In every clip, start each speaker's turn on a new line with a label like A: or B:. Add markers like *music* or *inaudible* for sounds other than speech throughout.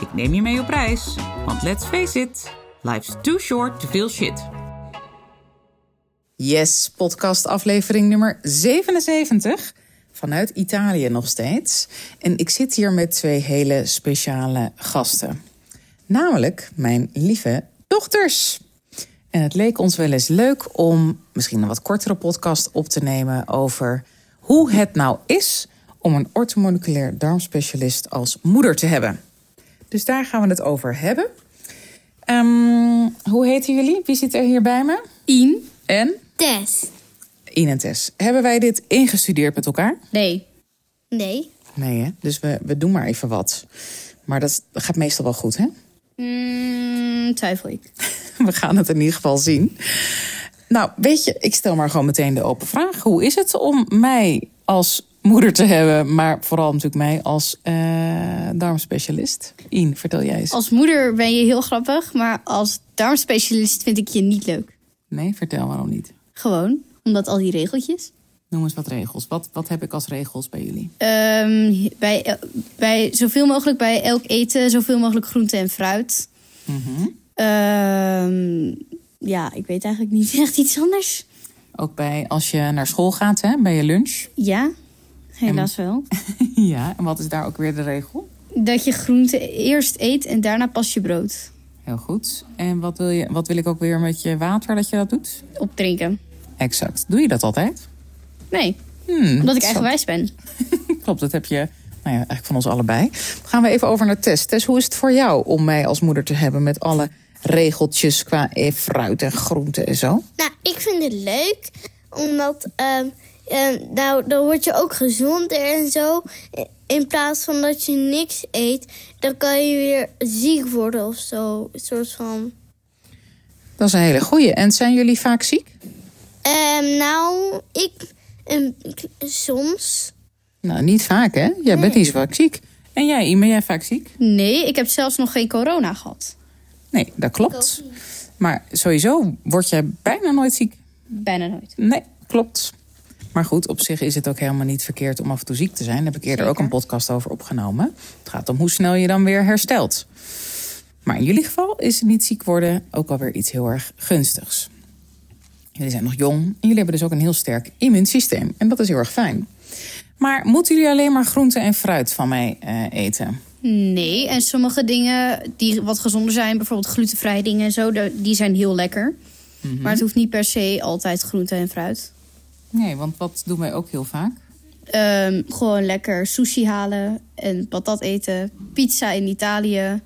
A: Ik neem je mee op reis, want let's face it, life's too short to feel shit. Yes, podcast aflevering nummer 77. Vanuit Italië nog steeds. En ik zit hier met twee hele speciale gasten. Namelijk mijn lieve dochters. En het leek ons wel eens leuk om misschien een wat kortere podcast op te nemen over hoe het nou is om een orthomoleculair darmspecialist als moeder te hebben. Dus daar gaan we het over hebben. Ehm, hoe heten jullie? Wie zit er hier bij me?
B: Ien.
A: En?
C: Tess.
A: Ien en Tess. Hebben wij dit ingestudeerd met elkaar?
B: Nee.
C: Nee.
A: Nee, hè? Dus we, we doen maar even wat. Maar dat gaat meestal wel goed, hè? *laughs*
B: Mm, twijfel ik.
A: We gaan het in ieder geval zien. Nou, weet je, ik stel maar gewoon meteen de open vraag. Hoe is het om mij als moeder te hebben, maar vooral natuurlijk mij als eh, darmspecialist? Ien, vertel jij eens.
B: Als moeder ben je heel grappig, maar als darmspecialist vind ik je niet leuk.
A: Nee, vertel waarom niet.
B: Gewoon, omdat al die regeltjes.
A: Noem eens wat regels. Wat, wat heb ik als regels bij jullie?
B: Ehm, bij, el- bij zoveel mogelijk bij elk eten, zoveel mogelijk groente en fruit. Ehm, ja, ik weet eigenlijk niet *laughs* echt iets anders.
A: Ook bij als je naar school gaat, hè, bij je lunch.
B: Ja, helaas wel.
A: ja, en wat is daar ook weer de regel?
B: Dat je groente eerst eet en daarna pas je brood
A: Heel goed. En wat wil, je, wat wil ik ook weer met je water dat je dat doet?
B: opdrinken.
A: Exact. Doe je dat altijd? *laughs*
B: Nee,
A: Hmm,
B: omdat ik
A: zo.
B: eigenwijs ben.
A: Klopt, dat heb je nou ja, eigenlijk van ons allebei. Dan gaan we even over naar Tess. Tess, hoe is het voor jou om mij als moeder te hebben met alle regeltjes qua eh, fruit en groenten en zo?
C: Nou, ik vind het leuk, omdat ehm, ehm, nou, dan word je ook gezonder en zo. In plaats van dat je niks eet, dan kan je weer ziek worden of zo. Een soort van.
A: Dat is een hele goeie. En zijn jullie vaak ziek?
C: Ehm, nou, ik ehm, k- soms.
A: Nou, niet vaak hè? Jij bent niet zo vaak ziek. En jij, Ime, jij vaak ziek?
B: Nee, ik heb zelfs nog geen corona gehad.
A: Nee, dat klopt. Maar sowieso word jij bijna nooit ziek.
B: Bijna nooit.
A: Nee, klopt. Maar goed, op zich is het ook helemaal niet verkeerd om af en toe ziek te zijn. Daar heb ik eerder ook een podcast over opgenomen. Het gaat om hoe snel je dan weer herstelt. Maar in jullie geval is niet ziek worden ook alweer iets heel erg gunstigs. Jullie zijn nog jong en jullie hebben dus ook een heel sterk immuunsysteem. En dat is heel erg fijn. Maar moeten jullie alleen maar groente en fruit van mij eh, eten?
B: Nee, en sommige dingen die wat gezonder zijn, bijvoorbeeld glutenvrije dingen en zo, de- die zijn heel lekker. Maar het hoeft niet per se altijd groente en fruit.
A: Nee, want wat doen wij ook heel vaak?
B: Ehm, gewoon lekker sushi halen en patat eten, pizza in Italië,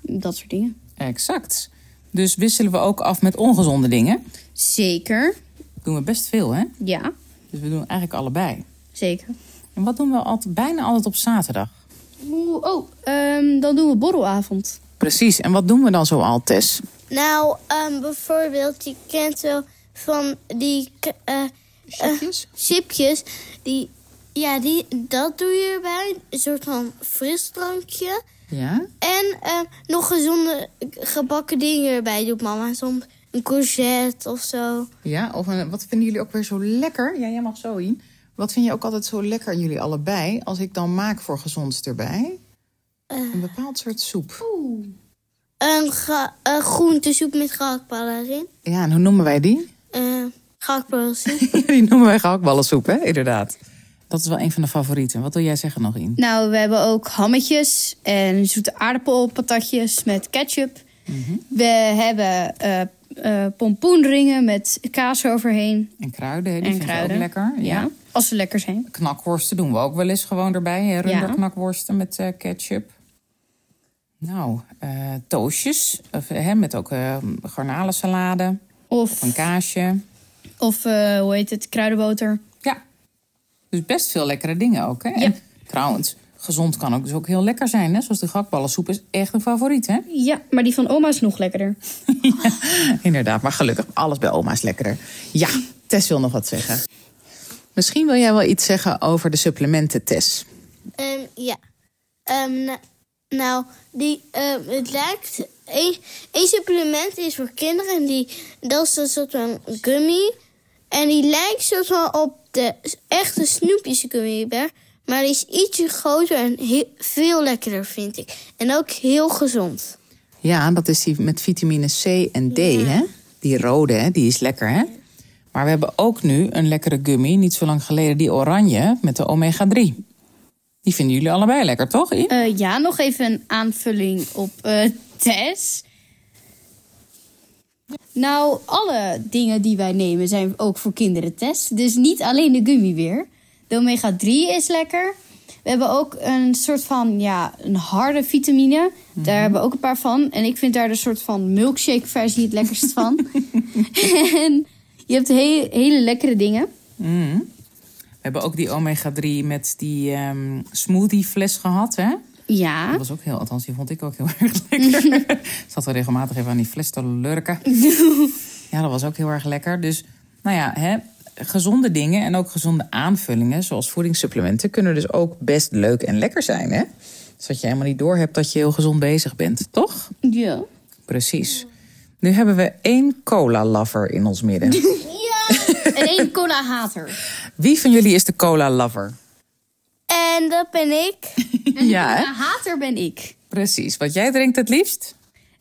B: dat soort dingen.
A: Exact. Dus wisselen we ook af met ongezonde dingen.
B: Zeker,
A: Dat doen we best veel, hè?
B: ja,
A: Dus we doen eigenlijk allebei.
B: zeker.
A: En wat doen we altijd, bijna altijd op zaterdag?
B: Oeh, oh, ehm, dan doen we borrelavond.
A: Precies, en wat doen we dan zo al, Tess?
C: Nou, ehm, bijvoorbeeld, je kent wel van die k- eh,
A: Chipjes?
C: chipjes. Die, ja, die, dat doe je erbij. Een soort van frisdrankje.
A: Ja?
C: En eh, nog gezonde gebakken dingen erbij doet mama. Soms een courgette of zo.
A: Ja, of een- wat vinden jullie ook weer zo lekker? Ja, jij mag zo in. Wat vind je ook altijd zo lekker aan jullie allebei... als ik dan maak voor gezonds erbij?
B: Eh.
A: Een bepaald soort soep.
C: Een, ga- een groentesoep met gehaktballen erin.
A: Ja, en hoe noemen wij *laughs* die?
C: Eh gehaktballensoep.
A: die noemen wij gehaktballensoep, hè? Inderdaad. Dat is wel een van de favorieten. Wat wil jij zeggen nog, in?
B: Nou, we hebben ook hammetjes en zoete aardappelpatatjes met ketchup.
A: Mhm.
B: We hebben eh, eh, pompoenringen met kaas overheen
A: En kruiden, hè? die
B: en
A: vind ik
B: kruiden.
A: ook lekker.
B: ja. Als ze lekker zijn.
A: Knakworsten doen we ook wel eens gewoon erbij. Hè? Runderknakworsten met eh, ketchup. Nou, eh toastjes. Of, eh, hè, met ook eh, garnalensalade. Of
B: Of,
A: een kaasje.
B: of eh, hoe heet het, kruidenboter.
A: Ja. Dus best veel lekkere dingen ook. Hè?
B: Ja.
A: En trouwens, Gezond kan ook dus ook heel lekker zijn, hè? Zoals de gakballensoep is echt een favoriet, hè?
B: Ja, maar die van oma is nog lekkerder.
A: ja, inderdaad. Maar gelukkig, alles bij oma is lekkerder. Ja, Tess wil nog wat zeggen. Misschien wil jij wel iets zeggen over de supplementen, Tess.
C: Ehm, ja. Ehm, na- nou, die, ehm, het lijkt... Eén supplement is voor kinderen en die, dat is een soort van gummy. En die lijkt soort van op de echte snoepjes gummibeer. Maar die is ietsje groter en heel- veel lekkerder, vind ik. En ook heel gezond.
A: Ja, dat is die met vitamine C en D, hè? Die rode, hè? Die is lekker, hè? Maar we hebben ook nu een lekkere gummy, niet zo lang geleden, die oranje met de omega-3. Die vinden jullie allebei lekker, toch? Iep?
B: Eh, ja, nog even een aanvulling op eh Tess. Nou, alle dingen die wij nemen zijn ook voor kinderen, Tess. Dus niet alleen de gummy weer. De omega-3 is lekker. We hebben ook een soort van, ja, een harde vitamine. Daar hebben we ook een paar van. En ik vind daar de soort van milkshake versie het lekkerst van. en je hebt he- hele lekkere dingen.
A: Mm. We hebben ook die omega-3 met die ehm smoothie-fles gehad, hè?
B: Ja.
A: Dat was ook heel, althans, die vond ik ook heel *laughs* erg lekker. Ik Zat wel regelmatig even aan die fles te lurken. ja, dat was ook heel erg lekker. Dus, nou ja, hè, gezonde dingen en ook gezonde aanvullingen, zoals voedingssupplementen, kunnen dus ook best leuk en lekker zijn, hè? Zodat je helemaal niet doorhebt dat je heel gezond bezig bent, toch?
B: Ja.
A: Precies. Nu hebben we één cola-lover in ons midden.
B: En één cola-hater.
A: Wie van jullie is de cola-lover?
C: En dat ben ik.
A: Ja, hè?
B: Cola-hater ben ik.
A: Precies. Wat jij drinkt het liefst?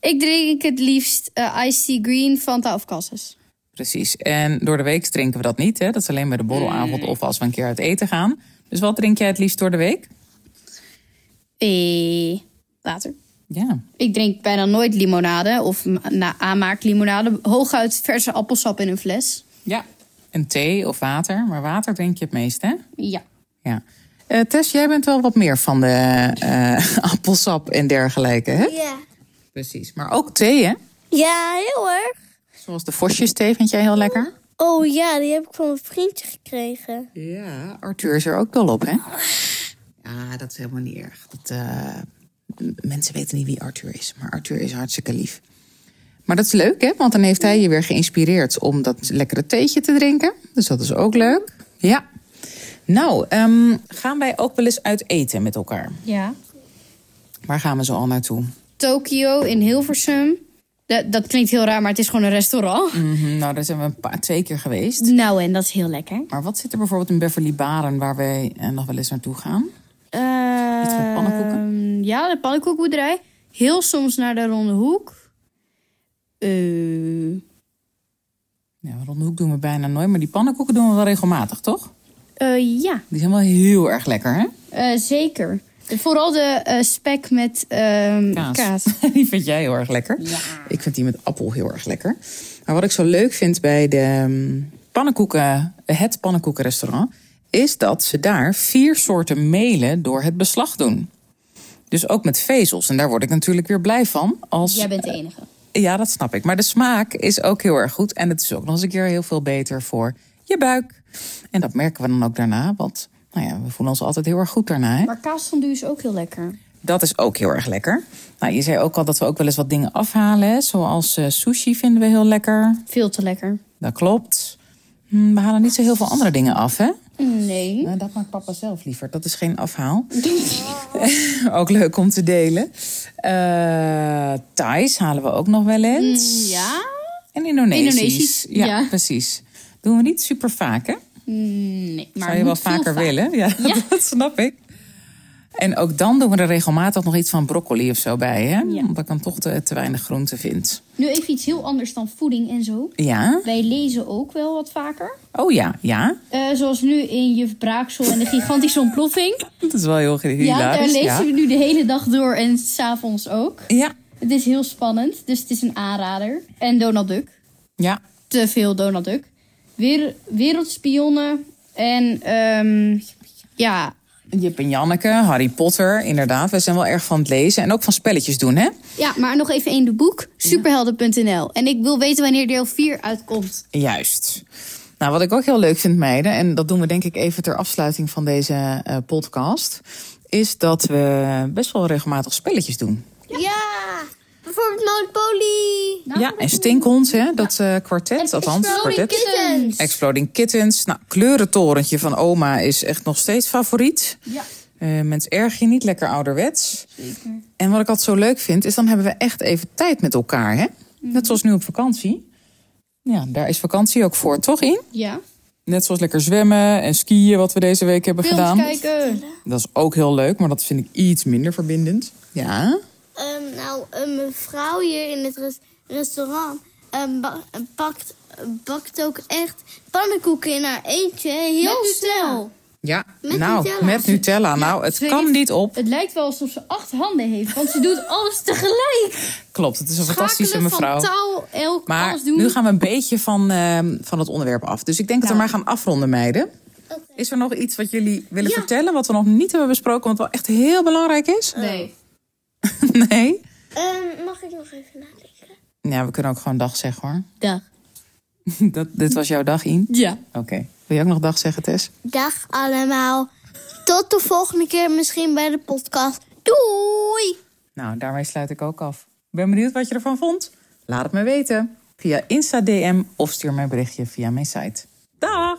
B: Ik drink het liefst eh iced tea green, Fanta of Cassis.
A: Precies. En door de week drinken we dat niet. Hè? Dat is alleen bij de borrelavond of als we een keer uit eten gaan. Dus wat drink jij het liefst door de week?
B: Eh, water.
A: Ja,
B: Ik drink bijna nooit limonade of ma- na aanmaaklimonade. Hooguit verse appelsap in een fles.
A: ja. Een thee of water. Maar water drink je het meest, hè?
B: Ja.
A: Ja. Eh, Tess, jij bent wel wat meer van de eh, *laughs* appelsap en dergelijke, hè?
C: Ja.
A: Precies. Maar ook thee, hè?
C: Ja, heel erg.
A: Zoals de vosjesthee vind jij heel lekker?
C: Oh ja, die heb ik van mijn vriendje gekregen.
A: Ja, Arthur is er ook dol op, hè? Ja, dat is helemaal niet erg. Dat, eh, m- mensen weten niet wie Arthur is, maar Arthur is hartstikke lief. Maar dat is leuk, hè? Want dan heeft hij je weer geïnspireerd om dat lekkere theetje te drinken. Dus dat is ook leuk. Ja. Nou, ehm, gaan wij ook wel eens uit eten met elkaar?
B: Ja.
A: Waar gaan we zo al naartoe?
B: Tokio in Hilversum. Da- dat klinkt heel raar, maar het is gewoon een restaurant.
A: Mhm, nou, daar zijn we een paar, twee keer geweest.
B: Nou, en dat is heel lekker.
A: Maar wat zit er bijvoorbeeld in Beverly Baren waar wij eh, nog wel eens naartoe gaan? Iets met pannenkoeken?
B: Ehm, ja, de pannenkoekboerderij. Heel soms naar de Ronde Hoek. Eh,
A: Ja, rond de hoek doen we bijna nooit, maar die pannenkoeken doen we wel regelmatig, toch?
B: eh, ja,
A: Die zijn wel heel erg lekker, hè?
B: Eh, zeker. Vooral de eh, spek met ehm, kaas.
A: *laughs* die vind jij heel erg lekker. Ik vind die met appel heel erg lekker. Maar wat ik zo leuk vind bij de ehm, pannenkoeken, het pannenkoekenrestaurant... is dat ze daar vier soorten melen door het beslag doen. Dus ook met vezels. En daar word ik natuurlijk weer blij van. Als,
B: Jij bent de enige.
A: Ja, dat snap ik. Maar de smaak is ook heel erg goed. En het is ook nog eens een keer heel veel beter voor je buik. En dat merken we dan ook daarna. Want nou ja, we voelen ons altijd heel erg goed daarna. Hè?
B: Maar kaasfondue is ook heel lekker.
A: Dat is ook heel erg lekker. Nou, je zei ook al dat we ook wel eens wat dingen afhalen. Hè? Zoals eh, sushi vinden we heel lekker.
B: Veel te lekker.
A: Dat klopt. Hm, we halen niet zo heel veel andere dingen af, hè?
B: Nee.
A: Nou, dat maakt papa zelf liever. Dat is geen afhaal. *laughs* ook leuk om te delen. Eh Thais halen we ook nog wel eens.
B: Mm, Ja?
A: En Indonesisch.
B: Indonesisch,
A: ja,
B: ja.
A: precies. Doen we niet super vaak, hè?
B: Nee. Maar
A: Zou je wel
B: moet veel
A: vaker
B: vaak.
A: willen? Ja,
B: Ja.
A: *laughs* dat snap ik. En ook dan doen we er regelmatig nog iets van broccoli of zo bij, hè? Omdat ik dan toch te, te weinig groente vind.
B: Nu even iets heel anders dan voeding en zo.
A: Ja?
B: Wij lezen ook wel wat vaker.
A: Oh ja, ja.
B: Eh, zoals nu in Juf Braaksel en de gigantische ontploffing.
A: Dat is wel heel *laughs* hilarisch.
B: ja, daar lezen
A: ja.
B: we nu de hele dag door en s'avonds ook.
A: Ja,
B: Het is heel spannend, dus het is een aanrader. En Donald Duck.
A: ja.
B: te veel Donald Duck. Weer, wereldspionnen en ehm, ja,
A: Jip en Janneke, Harry Potter, inderdaad. We zijn wel erg van het lezen en ook van spelletjes doen, hè?
B: ja, maar nog even één de boek, superhelden.nl. En ik wil weten wanneer deel 4 uitkomt.
A: Juist. Nou, wat ik ook heel leuk vind, meiden, en dat doen we denk ik even ter afsluiting van deze eh, podcast,
D: is dat we best wel regelmatig spelletjes doen.
C: Ja. Bijvoorbeeld Monopoly.
D: ja, en Stinkhond, hè, dat eh, kwartet, althans,
B: Nou, Exploding
D: kwartet.
B: Kittens.
D: Exploding Kittens. Nou, kleurentorentje van oma is echt nog steeds favoriet.
B: Ja.
D: Eh mens erg je niet, lekker ouderwets. En wat ik altijd zo leuk vind, is dan hebben we echt even tijd met elkaar. Hè?
B: Mhm.
D: Net zoals nu op vakantie. Ja, daar is vakantie ook voor, toch in?
B: Ja.
D: Net zoals lekker zwemmen en skiën, wat we deze week hebben
B: Films
D: gedaan.
B: kijken.
D: Dat is ook heel leuk, maar dat vind ik iets minder verbindend. Ja.
C: Ehm, nou, een mevrouw hier in het res- restaurant ehm, ba- pakt, bakt ook echt pannenkoeken in haar eentje. Heel
B: Met
C: snel.
D: Ja,
C: Met
D: nou,
C: Nutella.
D: met Nutella. Nou, het
B: Ze
D: kan
B: heeft-
D: niet op.
B: Het lijkt wel alsof ze acht handen heeft, want ze doet alles tegelijk.
D: Klopt, het is een fantastische
B: Schakelen
D: mevrouw.
B: van touw, elk,
D: Maar
B: alles doen.
D: nu gaan we een beetje van, ehm, van het onderwerp af. Dus ik denk dat we
B: Nou.
D: maar gaan afronden, meiden. Is er nog iets wat jullie willen vertellen, wat we nog niet hebben besproken, wat wel echt heel belangrijk is? *laughs*
B: Nee.
D: nee?
C: Ehm, mag ik nog even nadenken?
D: Ja, we kunnen ook gewoon dag zeggen hoor. *laughs*
B: Dag.
D: Dat, dit was jouw dag, in.
B: Ja.
D: Oké. Wil je ook nog dag zeggen, Tess?
C: Dag allemaal. Tot de volgende keer misschien bij de podcast. Doei!
D: Nou, daarmee sluit ik ook af. Ik ben benieuwd wat je ervan vond. Laat het me weten. Via Insta DM of stuur mij een berichtje via mijn site.
A: Dag!